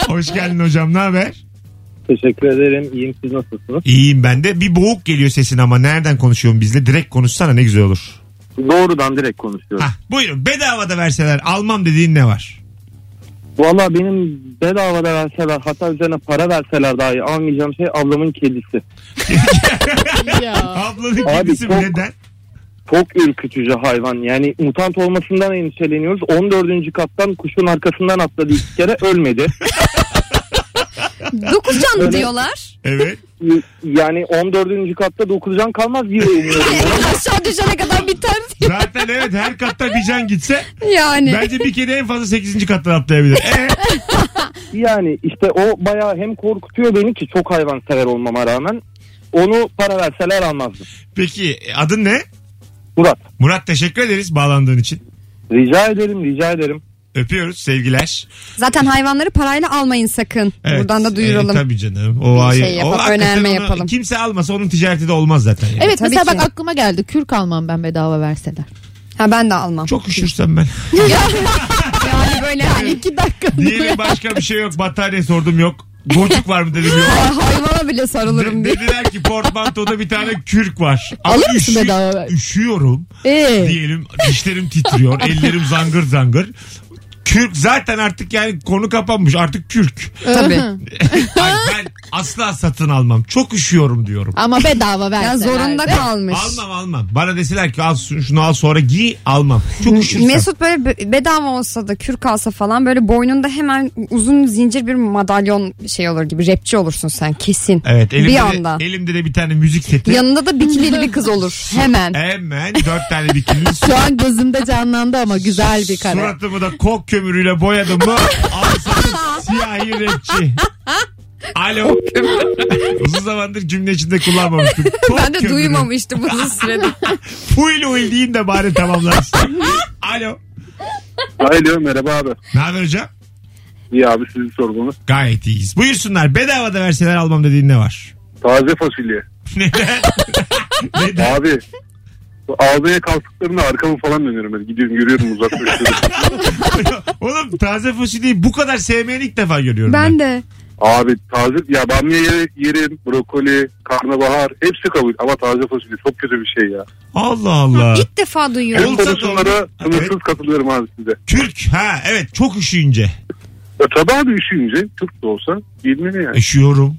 Hoş geldin hocam ne haber? [LAUGHS] Teşekkür ederim. İyiyim siz nasılsınız? İyiyim ben de. Bir boğuk geliyor sesin ama nereden konuşuyorsun bizle? Direkt konuşsana ne güzel olur. Doğrudan direkt konuşuyorum. Hah, buyurun bedava da verseler almam dediğin ne var? Valla benim bedava da verseler hatta üzerine para verseler dahi almayacağım şey ablamın kedisi. Ablanın Abi kedisi mi? çok- neden? Çok ürkütücü hayvan yani mutant olmasından endişeleniyoruz. 14. kattan kuşun arkasından atladı iki kere ölmedi. 9 canlı Öyle- diyorlar. Evet. Yani 14. katta 9 can kalmaz diye [LAUGHS] umuyorum. Aşağı düşene kadar biter. Zaten evet her katta bir can gitse Yani. bence bir kedi en fazla 8. kattan atlayabilir. E, Yani işte o bayağı hem korkutuyor beni ki çok hayvansever olmama rağmen. Onu para verseler almazdım. peki adın ne? Murat. Murat teşekkür ederiz bağlandığın için. Rica ederim rica ederim. Öpüyoruz sevgiler. Zaten hayvanları parayla almayın sakın. Evet, Buradan da e, duyuralım. tabii canım. O Bir şey hayır. yapalım, o hakikaten önerme onu yapalım. Kimse almasa onun ticareti de olmaz zaten. yani. [LAUGHS] Evet Tabii mesela ki. bak aklıma geldi. Kürk almam ben bedava verseler. Ha ben de almam. Çok üşürsem [LAUGHS] ben. yani böyle hani İki dakika. Diyelim başka bir şey yok. Battaniye sordum yok. Boncuk var mı dedim [LAUGHS] yok. hayvana bile sarılırım De- diye. dediler ki portmantoda bir tane kürk var. Ama Alır mısın üşü- bedava ver? Üşüyorum. Ee, Diyelim dişlerim [LAUGHS] titriyor. ellerim zangır zangır. Kürk zaten artık yani konu kapanmış. Artık kürk. Tabii. Ay [LAUGHS] ben asla satın almam. Çok üşüyorum diyorum. ama bedava verseler. Ya zorunda de. kalmış. Almam almam. Bana deseler ki al şunu şunu al sonra giy almam. Çok üşürsem. Mesut böyle be- bedava olsa da kürk alsa falan böyle boynunda hemen uzun zincir bir madalyon şey olur gibi rapçi olursun sen kesin. Evet elimde, bir de- anda. elimde de bir tane müzik seti. Yanında da bikinili bir kız olur hemen. Hemen dört tane [LAUGHS] bikini. Şu an gözümde canlandı ama güzel bir kare. Suratımı da kok kömürüyle boyadım mı al sana siyahi rapçi. Alo. [LAUGHS] Uzun zamandır cümle içinde kullanmamıştım. Kok [LAUGHS] Ben de kömürü. duymamıştım uzun süredir. Full oil diyeyim de bari tamamlarsın. Alo. Alo merhaba abi. Ne haber hocam? İyi abi sizin sorgunuz. Gayet iyiyiz. Buyursunlar bedava da verseler almam dediğin ne var? Taze fasulye. Neden? [LAUGHS] Neden? Abi ağzıya kalktıklarında arkamı falan dönüyorum. Ben gidiyorum [LAUGHS] yürüyorum uzaklaşıyorum. Oğlum taze fasulyeyi bu kadar sevmeyen ilk defa görüyorum. Ben de. Abi taze ya bamya ye- yerim, brokoli, karnabahar hepsi kabul ama taze fasulye çok kötü bir şey ya. Allah Allah. İlk defa duyuyorum. Hem konusunda sınırsız katılıyorum abi size. Kürk ha evet çok üşüyünce. E, tabii abi üşüyünce Türk de olsa giyinmeli yani. Üşüyorum.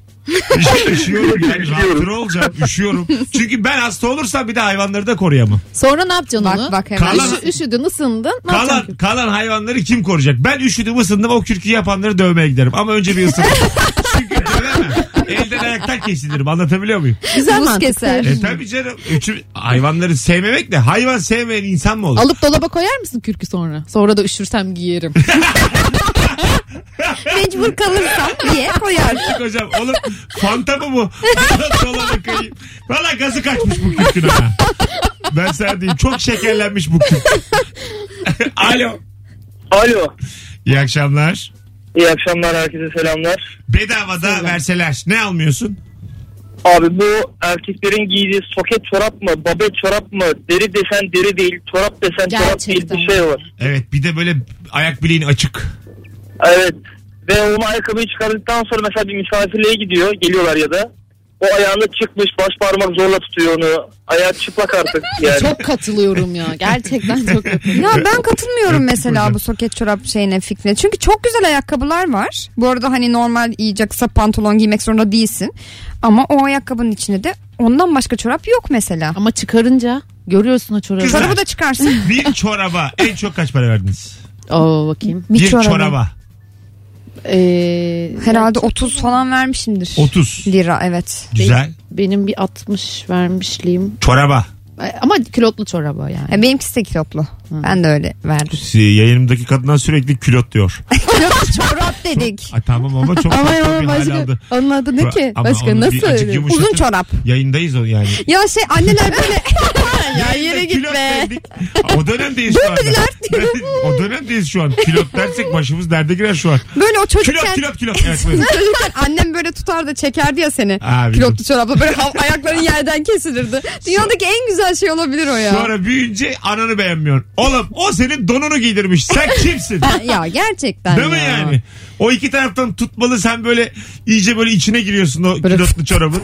üşüyorum yani rahatına olacağım üşüyorum. Çünkü ben hasta olursam bir de hayvanları da koruyamam. Sonra ne yapacaksın onu? bak hemen. Kalan- Üşü- üşüdün ısındın. Ne yapacaksın? Kalan, kalan hayvanları kim koruyacak? Ben üşüdüm ısındım o kürkü yapanları dövmeye giderim. Ama önce bir ısınırım. [LAUGHS] Çünkü dövemem. Elden ayaktan kesilirim anlatabiliyor muyum? Güzel Buz mantık. keser. E tabii canım. Üçü, hayvanları sevmemek ne? Hayvan sevmeyen insan mı olur? Alıp dolaba koyar mısın kürkü sonra? Sonra da üşürsem [LAUGHS] giyerim. Mecbur kalırsam diye koyar. Yok hocam oğlum fanta mı bu? Dolaba koyayım. Valla gazı kaçmış bu kürkün ha. Ben sana diyeyim çok şekerlenmiş bu [LAUGHS] kürk. Alo. Alo. İyi akşamlar. İyi akşamlar herkese selamlar. Bedavada verseler ne almıyorsun? Abi bu erkeklerin giydiği soket çorap mı, babe çorap mı, deri desen deri değil, çorap desen çorap değil bir şey var. Evet bir de böyle ayak bileğin açık. Evet. Ve onu ayakkabıyı çıkardıktan sonra mesela bir misafirliğe gidiyor, geliyorlar ya da. O ayağında çıkmış, baş parmak zorla tutuyor onu. Ayağı çıplak artık yani. Çok katılıyorum ya. Gerçekten çok [LAUGHS] katılıyorum. Ya ben katılmıyorum mesela bu soket çorap şeyine fikrine. Çünkü çok güzel ayakkabılar var. Bu arada hani normal iyice kısa pantolon giymek zorunda değilsin. Ama o ayakkabının içinde de ondan başka çorap yok mesela. Ama çıkarınca görüyorsun o çorabı. Güzel. Çorabı da çıkarsın. Bir çoraba en çok kaç para verdiniz? Oo bakayım. Bir, çoraba. Ee, Herhalde 30 falan vermişimdir. 30. Lira evet. Güzel. Benim bir 60 vermişliğim. Çoraba. Ama külotlu çoraba yani. Ya benimkisi de kilotlu. Ben de öyle [LAUGHS] verdim. Şey, Yayınımdaki kadına sürekli külot diyor. [LAUGHS] Kilotlu çorap dedik. Ay, tamam ama çok Ama farklı ama bir hal başka aldı. onun adı ne ki? Ama başka onu bir nasıl? acık öyle? yumuşatın. Uzun çorap. Yayındayız o yani. Ya şey anneler böyle ya yere Külot gitme. dedik. O dönemdeyiz şu anda. o dönemdeyiz şu an. Külot dersek başımız derde girer şu an. böyle o Külot çocukken külot külot. Evet, [LAUGHS] buyurun. [LAUGHS] Çocukken annem böyle tutar da çekerdi ya seni. Ha, biliyorum. Pilotlu çorapla böyle hav- ayakların [LAUGHS] yerden kesilirdi. Dünyadaki en güzel şey olabilir o ya. Sonra büyüyünce ananı beğenmiyorsun. Oğlum o senin donunu giydirmiş. Sen kimsin? [LAUGHS] ya gerçekten Değil mi ya. yani? O iki taraftan tutmalı sen böyle iyice böyle içine giriyorsun o külotlu [LAUGHS] çorabın.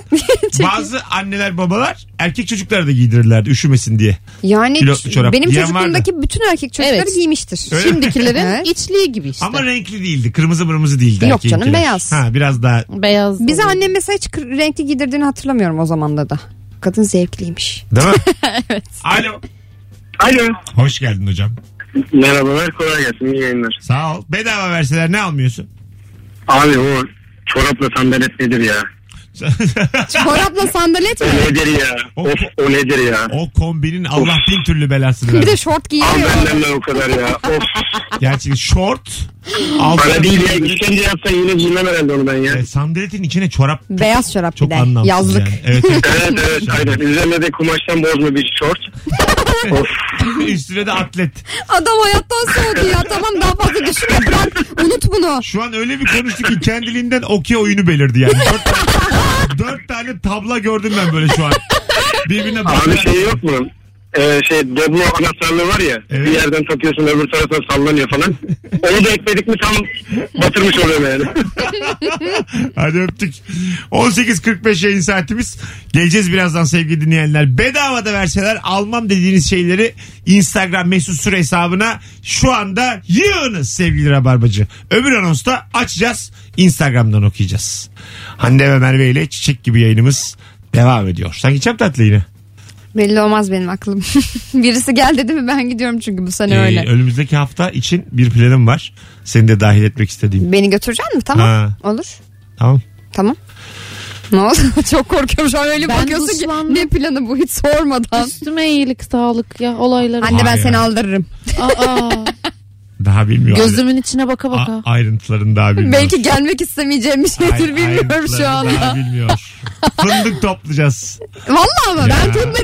Bazı anneler babalar erkek çocuklara da giydirirlerdi üşümesin diye. Yani Pilotlu çorap benim giyen çocukluğumdaki bütün erkek çocukları Evet. giymiştir. Öyle mi? Şimdikilerin [LAUGHS] Evet. içliği gibi işte. Ama renkli değildi. Kırmızı mırmızı değildi. Yok erkeğinkiler. canım, beyaz. Ha biraz daha. Beyaz. Bize oluyor. annem mesela hiç kır- renkli giydirdiğini hatırlamıyorum o zamanda da. Kadın zevkliymiş. Değil [LAUGHS] mi? Alo. Alo. Hoş geldin hocam. Merhabalar kolay gelsin iyi yayınlar. Sağ ol. Bedava verseler ne [LAUGHS] almıyorsun? Abi o çorapla sandalet nedir ya? Çorapla sandalet mi? Nedir ya? Of o nedir ya? O kombinin Allah bin türlü belasını Bir versin. de şort giyiyor. benden de o kadar ya. Of. Gerçi şort. altı- Bana değil ya. İşkence yapsan yine giymem herhalde onu ben ya. E, sandaletin içine çorap Beyaz çorap çok bir de. anlamsız Yazlık. yani. Evet, [LAUGHS] Evet evet aynen. Üzerine de kumaştan bozma bir şort. of. evet. Üstüne de atlet. Adam hayattan soğudu ya. Tamam daha fazla düşünme. Bırak. Unut bunu. Şu an öyle bir konuştuk ki kendiliğinden okey oyunu belirdi yani. Dört tane, dört tane tabla gördüm ben böyle şu an. Birbirine Abi bakıyor. şey yok mu? Ee, şey Deblo anahtarlığı var ya Evet. bir yerden takıyorsun öbür tarafına sallanıyor falan. Onu da ekledik mi tam batırmış oluyorum yani. Hadi öptük. 18.45 yayın saatimiz. Geleceğiz birazdan sevgili dinleyenler. Bedava da verseler almam dediğiniz şeyleri Instagram mesut süre hesabına şu anda yığınız sevgili Rabarbacı. Öbür anonsta açacağız. Instagram'dan okuyacağız. Hande ve Merve ile çiçek gibi yayınımız devam ediyor. Sanki çap tatlı yine. Belli olmaz benim aklım. [LAUGHS] Birisi gel dedi mi ben gidiyorum çünkü bu sene Ee, Hani öyle. önümüzdeki hafta için bir planım var. Seni de dahil etmek istediğim. Beni götürecek misin? Tamam. Ha. Olur. Tamam. Tamam. Ne oldu? [LAUGHS] Çok korkuyorum şu an öyle Ben bakıyorsun ki. dışlandım. Ne planı bu hiç sormadan. Üstüme iyilik sağlık ya olayları. Anne ben Hayır. seni aldırırım. Aa, [LAUGHS] Daha bilmiyorum. gözümün içine baka baka. A- ayrıntılarını daha bilmiyorum. Belki gelmek istemeyeceğim bir Ay- şeydir bilmiyorum ayrıntılarını şu daha anda. Bilmiyor. Fındık toplayacağız. Vallahi ama ben Ya. [LAUGHS] [LAUGHS] fındıkçıyım.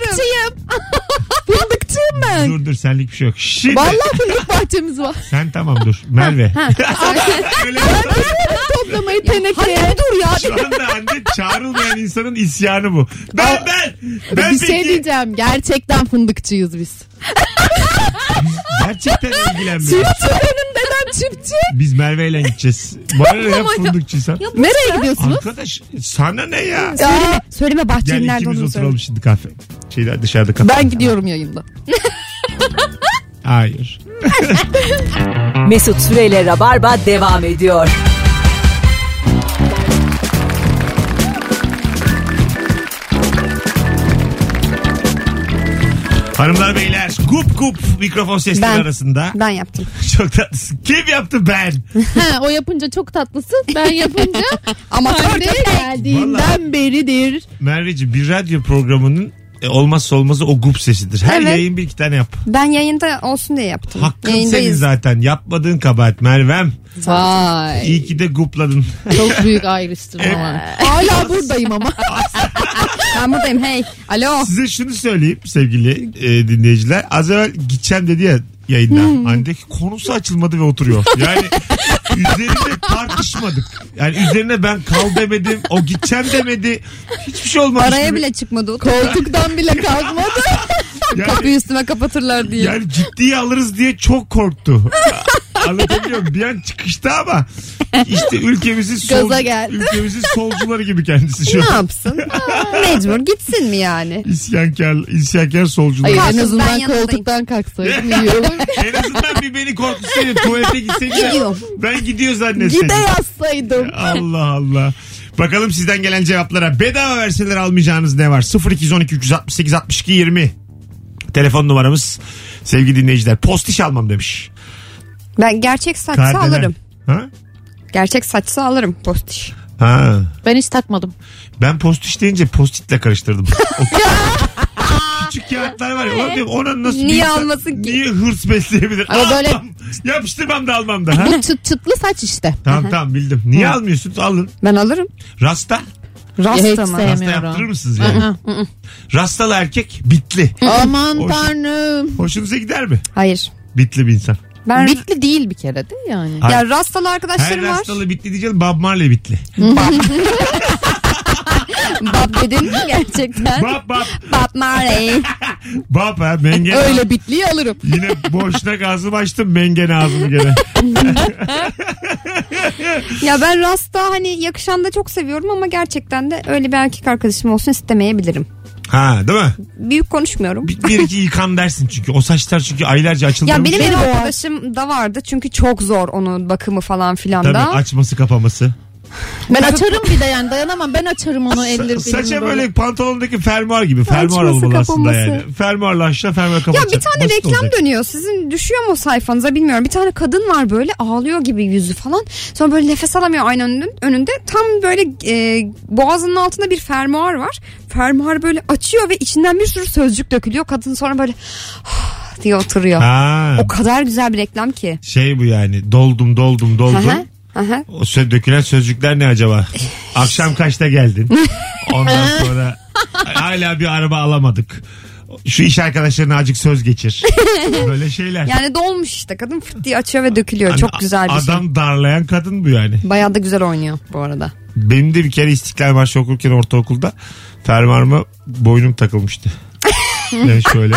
fındıkçıyım ben. Dur dur senlik bir şey yok. Şimdi Vallahi fındık bahçemiz var. sen tamam dur. Merve. [LAUGHS] Öyle yapma. Toplamayı tenekeye. Dur ya. Şu anda anne çağrılmayan insanın isyanı bu. Ben ben. Ben bir peki. şey diyeceğim. Gerçekten fındıkçıyız biz. Gerçekten ilgilenmiyorum. Tüylerim neden çiftçi. Biz Merve ile gideceğiz. Bana ne ya fındıkçıysan? Nereye gidiyorsunuz? Arkadaş sana ne ya? Söyleme, söyleme Gel bahçenin nerede ikimiz olduğunu söyle. oturalım şimdi kahve. Şeyler dışarıda kahve. Ben gidiyorum yayında. Hayır. Mesut Süreyle Rabarba devam ediyor. Hanımlar beyler gup gup mikrofon sesleri Ben- arasında. Ben yaptım. [LAUGHS] Çok tatlısın. Kim yaptı ben? ha, o yapınca çok tatlısın. [LAUGHS] Ben yapınca Amatör amatörde geldiğinden Vallahi. beridir. Merveciğim bir radyo programının e, olmazsa olmazı o gup sesidir. Her Evet. yayın bir iki tane yap. Ben yayında olsun diye yaptım. Hakkın senin Yayındayız. zaten. Yapmadığın kabahat Mervem. Vay. İyi ki de gupladın. [LAUGHS] Çok büyük ayrıştırma var. Hala buradayım ama. [LAUGHS] Ben buradayım hey. Alo. Size şunu söyleyeyim sevgili e, dinleyiciler. Az evvel gideceğim dedi ya yayında. Hmm. Hani dedi ki konusu açılmadı ve oturuyor. [LAUGHS] Yani üzerine tartışmadık. Yani üzerine ben kal demedim. O gideceğim demedi. Hiçbir şey olmamış. Araya gibi. bile çıkmadı. Koltuktan bile kalkmadı. Yani, Kapıyı üstüme kapatırlar diye. yani ciddiye alırız diye çok korktu. Anlatabiliyor muyum? Bir an çıkıştı ama işte ülkemizin sol, Gaza geldi. ülkemizin solcuları gibi kendisi şu ne an. yapsın? Aa, Mecbur gitsin mi yani? İsyankar, isyankar solcular. Hayır, en Kalkın, ben azından yanındayım. koltuktan kalksaydım iyi [LAUGHS] olur. En azından bir beni korkutsaydı tuvalete gitseydi. Gidiyorum. Ben gidiyor zannetseydim. Gide yazsaydım. Allah Allah. Bakalım sizden gelen cevaplara. Bedava verseler almayacağınız ne var? 0212 368 62 20. Telefon numaramız sevgili dinleyiciler. Postiş almam demiş. Ben gerçek saçsa Kardelen. alırım. Ha? Gerçek saçsa alırım postiş. Ha. Ben hiç takmadım. Ben postiş deyince postitle karıştırdım. [LAUGHS] O küçük kağıtlar var ya. Ulan diyorum ona nasıl bir Niye insan- almasın ki? Niye hırs besleyebilir? Ama böyle- Almam. Yapıştırmam da almam [LAUGHS] da. Ha? Bu çıt çıtlı saç işte. tamam tamam bildim. Niye almıyorsunuz? Alın. Ben alırım. Rasta. Hiç Rasta mı? Rasta sevmiyorum. yaptırır mısınız yani? Hı hı, hı hı. Rastalı erkek bitli. Aman Hoş- tanrım. Hoşunuza gider mi? Hayır. Bitli bir insan. Ben Bitli değil bir kere de yani. Hayır. ya rastalı Her arkadaşlarım var. rastalı bitli diyeceğim Bob Marley bitli. Bab dedin mi gerçekten? Bob Bob. Bab Marley. Bob ha mengen. [LAUGHS] Öyle bitliyi alırım. Yine boşnak ağzımı açtım mengen ağzımı [LAUGHS] gene. ya ben rasta hani yakışan da çok seviyorum ama gerçekten de öyle bir erkek arkadaşım olsun istemeyebilirim. Ha değil mi? Büyük konuşmuyorum. Bir, bir iki yıkan dersin çünkü. O saçlar çünkü aylarca açılmamış. Ya benim ev arkadaşım da vardı çünkü çok zor onun bakımı falan filan Tabii da. açması kapaması. Ben açarım bir de yani dayanamam. Ben açarım onu elleri. Sa- saça dilimi böyle, pantolondaki fermuar gibi. Fermuar Açması, olmalı aslında kapaması. yani. Fermuarla aşağı fermuar Ya kapatacak. bir tane Basit reklam olacak. dönüyor. Sizin düşüyor mu sayfanıza bilmiyorum. Bir tane kadın var böyle ağlıyor gibi yüzü falan. Sonra böyle nefes alamıyor aynanın önün- önünde. Tam böyle e, boğazının altında bir fermuar var. Fermuar böyle açıyor ve içinden bir sürü sözcük dökülüyor. Kadın sonra böyle "Ah" diye oturuyor. Ha, O kadar güzel bir reklam ki. şey bu yani doldum doldum doldum. Aha, aha. O sö- dökülen sözcükler ne [LAUGHS] acaba? Akşam kaçta geldin? Ondan sonra hala bir araba alamadık. Şu iş arkadaşlarına acık söz [LAUGHS] geçir. Böyle şeyler. Yani dolmuş işte. Kadın fırt diye açıyor ve dökülüyor. Hani Çok güzel bir şey. Adam darlayan kadın bu yani. Bayağı da güzel oynuyor bu arada. Benim de bir kere İstiklal Marşı okurken ortaokulda fermuarıma boynum [LAUGHS] takılmıştı. yani şöyle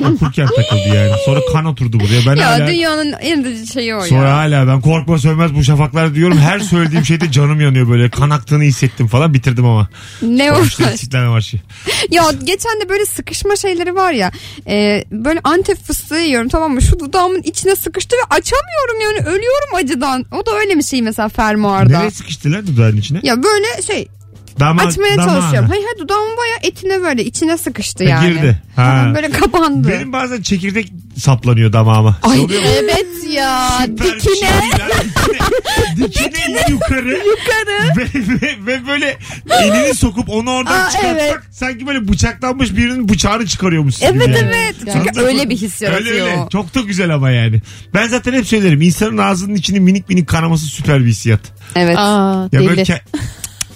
okurken takıldı yani. Sonra kan oturdu buraya. Ben Ya hala, dünyanın en de şeyi o sonra ya. hala ben korkma sönmez bu şafaklar diyorum. Her söylediğim şeyde canım yanıyor böyle. Kan aktığını hissettim falan bitirdim [LAUGHS] ama. Ne Sonra o? işte İstiklal Marşı. [LAUGHS] Ya geçen de böyle sıkışma şeyleri var ya. E, böyle antep fıstığı yiyorum tamam mı? Şu dudağımın içine sıkıştı ve açamıyorum yani ölüyorum acıdan. O da öyle bir şey mesela fermuarda. Nereye sıkıştılar dudağın içine? Ya böyle şey Dama, açmaya damağına. çalışıyorum. Hayır hayır dudağımın baya etine böyle içine sıkıştı Ha, yani. girdi. Ha. Ha, Böyle kapandı. Benim bazen çekirdek saplanıyor damağıma. Ay, Oluyor mu? Evet ya. Süper bir şey Dikine. ya. [LAUGHS] Dikine, dikine yukarı. yukarı. Ve, ve, ve böyle elini sokup onu oradan Aa, çıkartmak evet. sanki böyle bıçaklanmış birinin bıçağını çıkarıyormuşsun Evet gibi. yani. evet. Çünkü Anladın öyle mı? bir his Öyle yaratıyor. öyle. Çok da güzel ama yani. Ben zaten hep söylerim. insanın ağzının içinin minik minik kanaması süper bir hissiyat. Evet. Aa, Ya deli. böyle ke-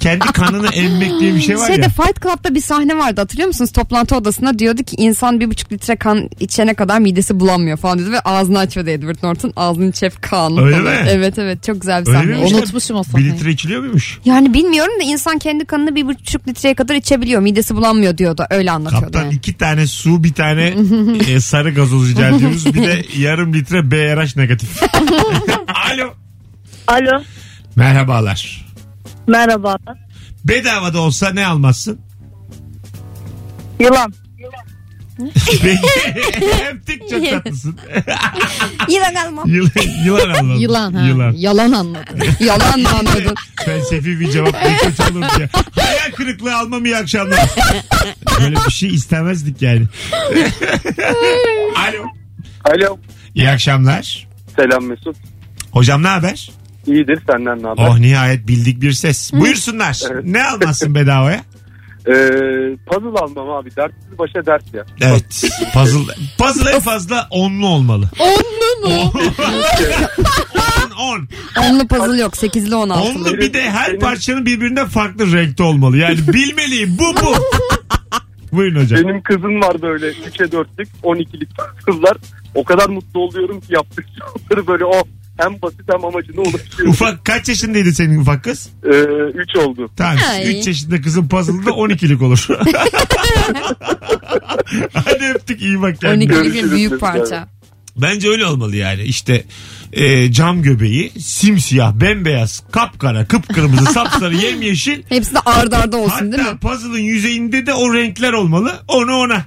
kendi kanını emmek diye bir şey var Şeyde ya. Fight Club'da bir sahne vardı hatırlıyor musunuz? Toplantı odasında diyordu ki insan bir buçuk litre kan içene kadar midesi bulanmıyor falan dedi ve ağzını açıyordu Edward Norton. Ağzını çep kanlı. Öyle falan. mi? Evet evet çok güzel bir Öyle sahne. miymiş? Bir litre içiliyor muymuş? Yani bilmiyorum da insan kendi kanını bir buçuk litreye kadar içebiliyor. Midesi bulanmıyor diyordu. Öyle anlatıyordu. Kaptan iki tane su bir tane e, sarı gazoz rica ediyoruz. Bir [LAUGHS] de yarım litre BRH negatif. Alo. Alo. Merhabalar. Merhaba. Bedava da olsa ne [LAUGHS] almazsın? Yılan. Öptük çok tatlısın. Yılan almam. Yılan, yılan anladım. Yılan ha. Yalan anladın. [LAUGHS] Yalan mı anladın? Felsefi bir [LAUGHS] cevap ne kötü olur diye. Hayal kırıklığı almam iyi akşamlar. Böyle bir şey istemezdik [LAUGHS] yani. Alo. Alo. İyi akşamlar. Selam Mesut. Hocam ne haber? İyidir senden ne haber? Oh nihayet bildik bir ses. Buyursunlar. Ne almazsın bedavaya? Ee, puzzle almam abi. Dertsiz başa dert ya. Evet. Puzzle. Puzzle en fazla onlu olmalı. Onlu mu? on, on. E, Onlu puzzle yok. Sekizli on altılı. Onlu bir de her parçanın birbirinden farklı renkte olmalı. Yani bilmeliyim bu bu. Buyurun hocam. Benim kızım var böyle 3'e 4'lük 12'lik kızlar. O kadar mutlu oluyorum ki yaptık. böyle o hem basit hem amacına ulaşıyor. Ufak kaç yaşındaydı senin ufak kız? 3 oldu. Tamam. Ay. 3 yaşında kızın puzzle'ı da 12'lik olur. Hadi öptük iyi bak kendine. 12'lik bir büyük parça. Bence öyle olmalı yani. İşte e, cam göbeği simsiyah, bembeyaz, kapkara, kıpkırmızı, sapsarı, yemyeşil. Hepsi de ard arda olsun değil mi? Hatta puzzle'ın yüzeyinde de o renkler olmalı. Onu ona.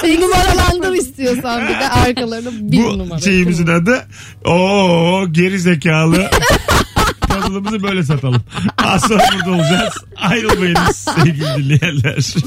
Seni numaralandır istiyorsan bir de arkalarını bir Bu numara. şeyimizin adı o geri zekalı [LAUGHS] puzzle'ımızı böyle satalım. Az sonra burada olacağız. Ayrılmayınız sevgili dinleyenler.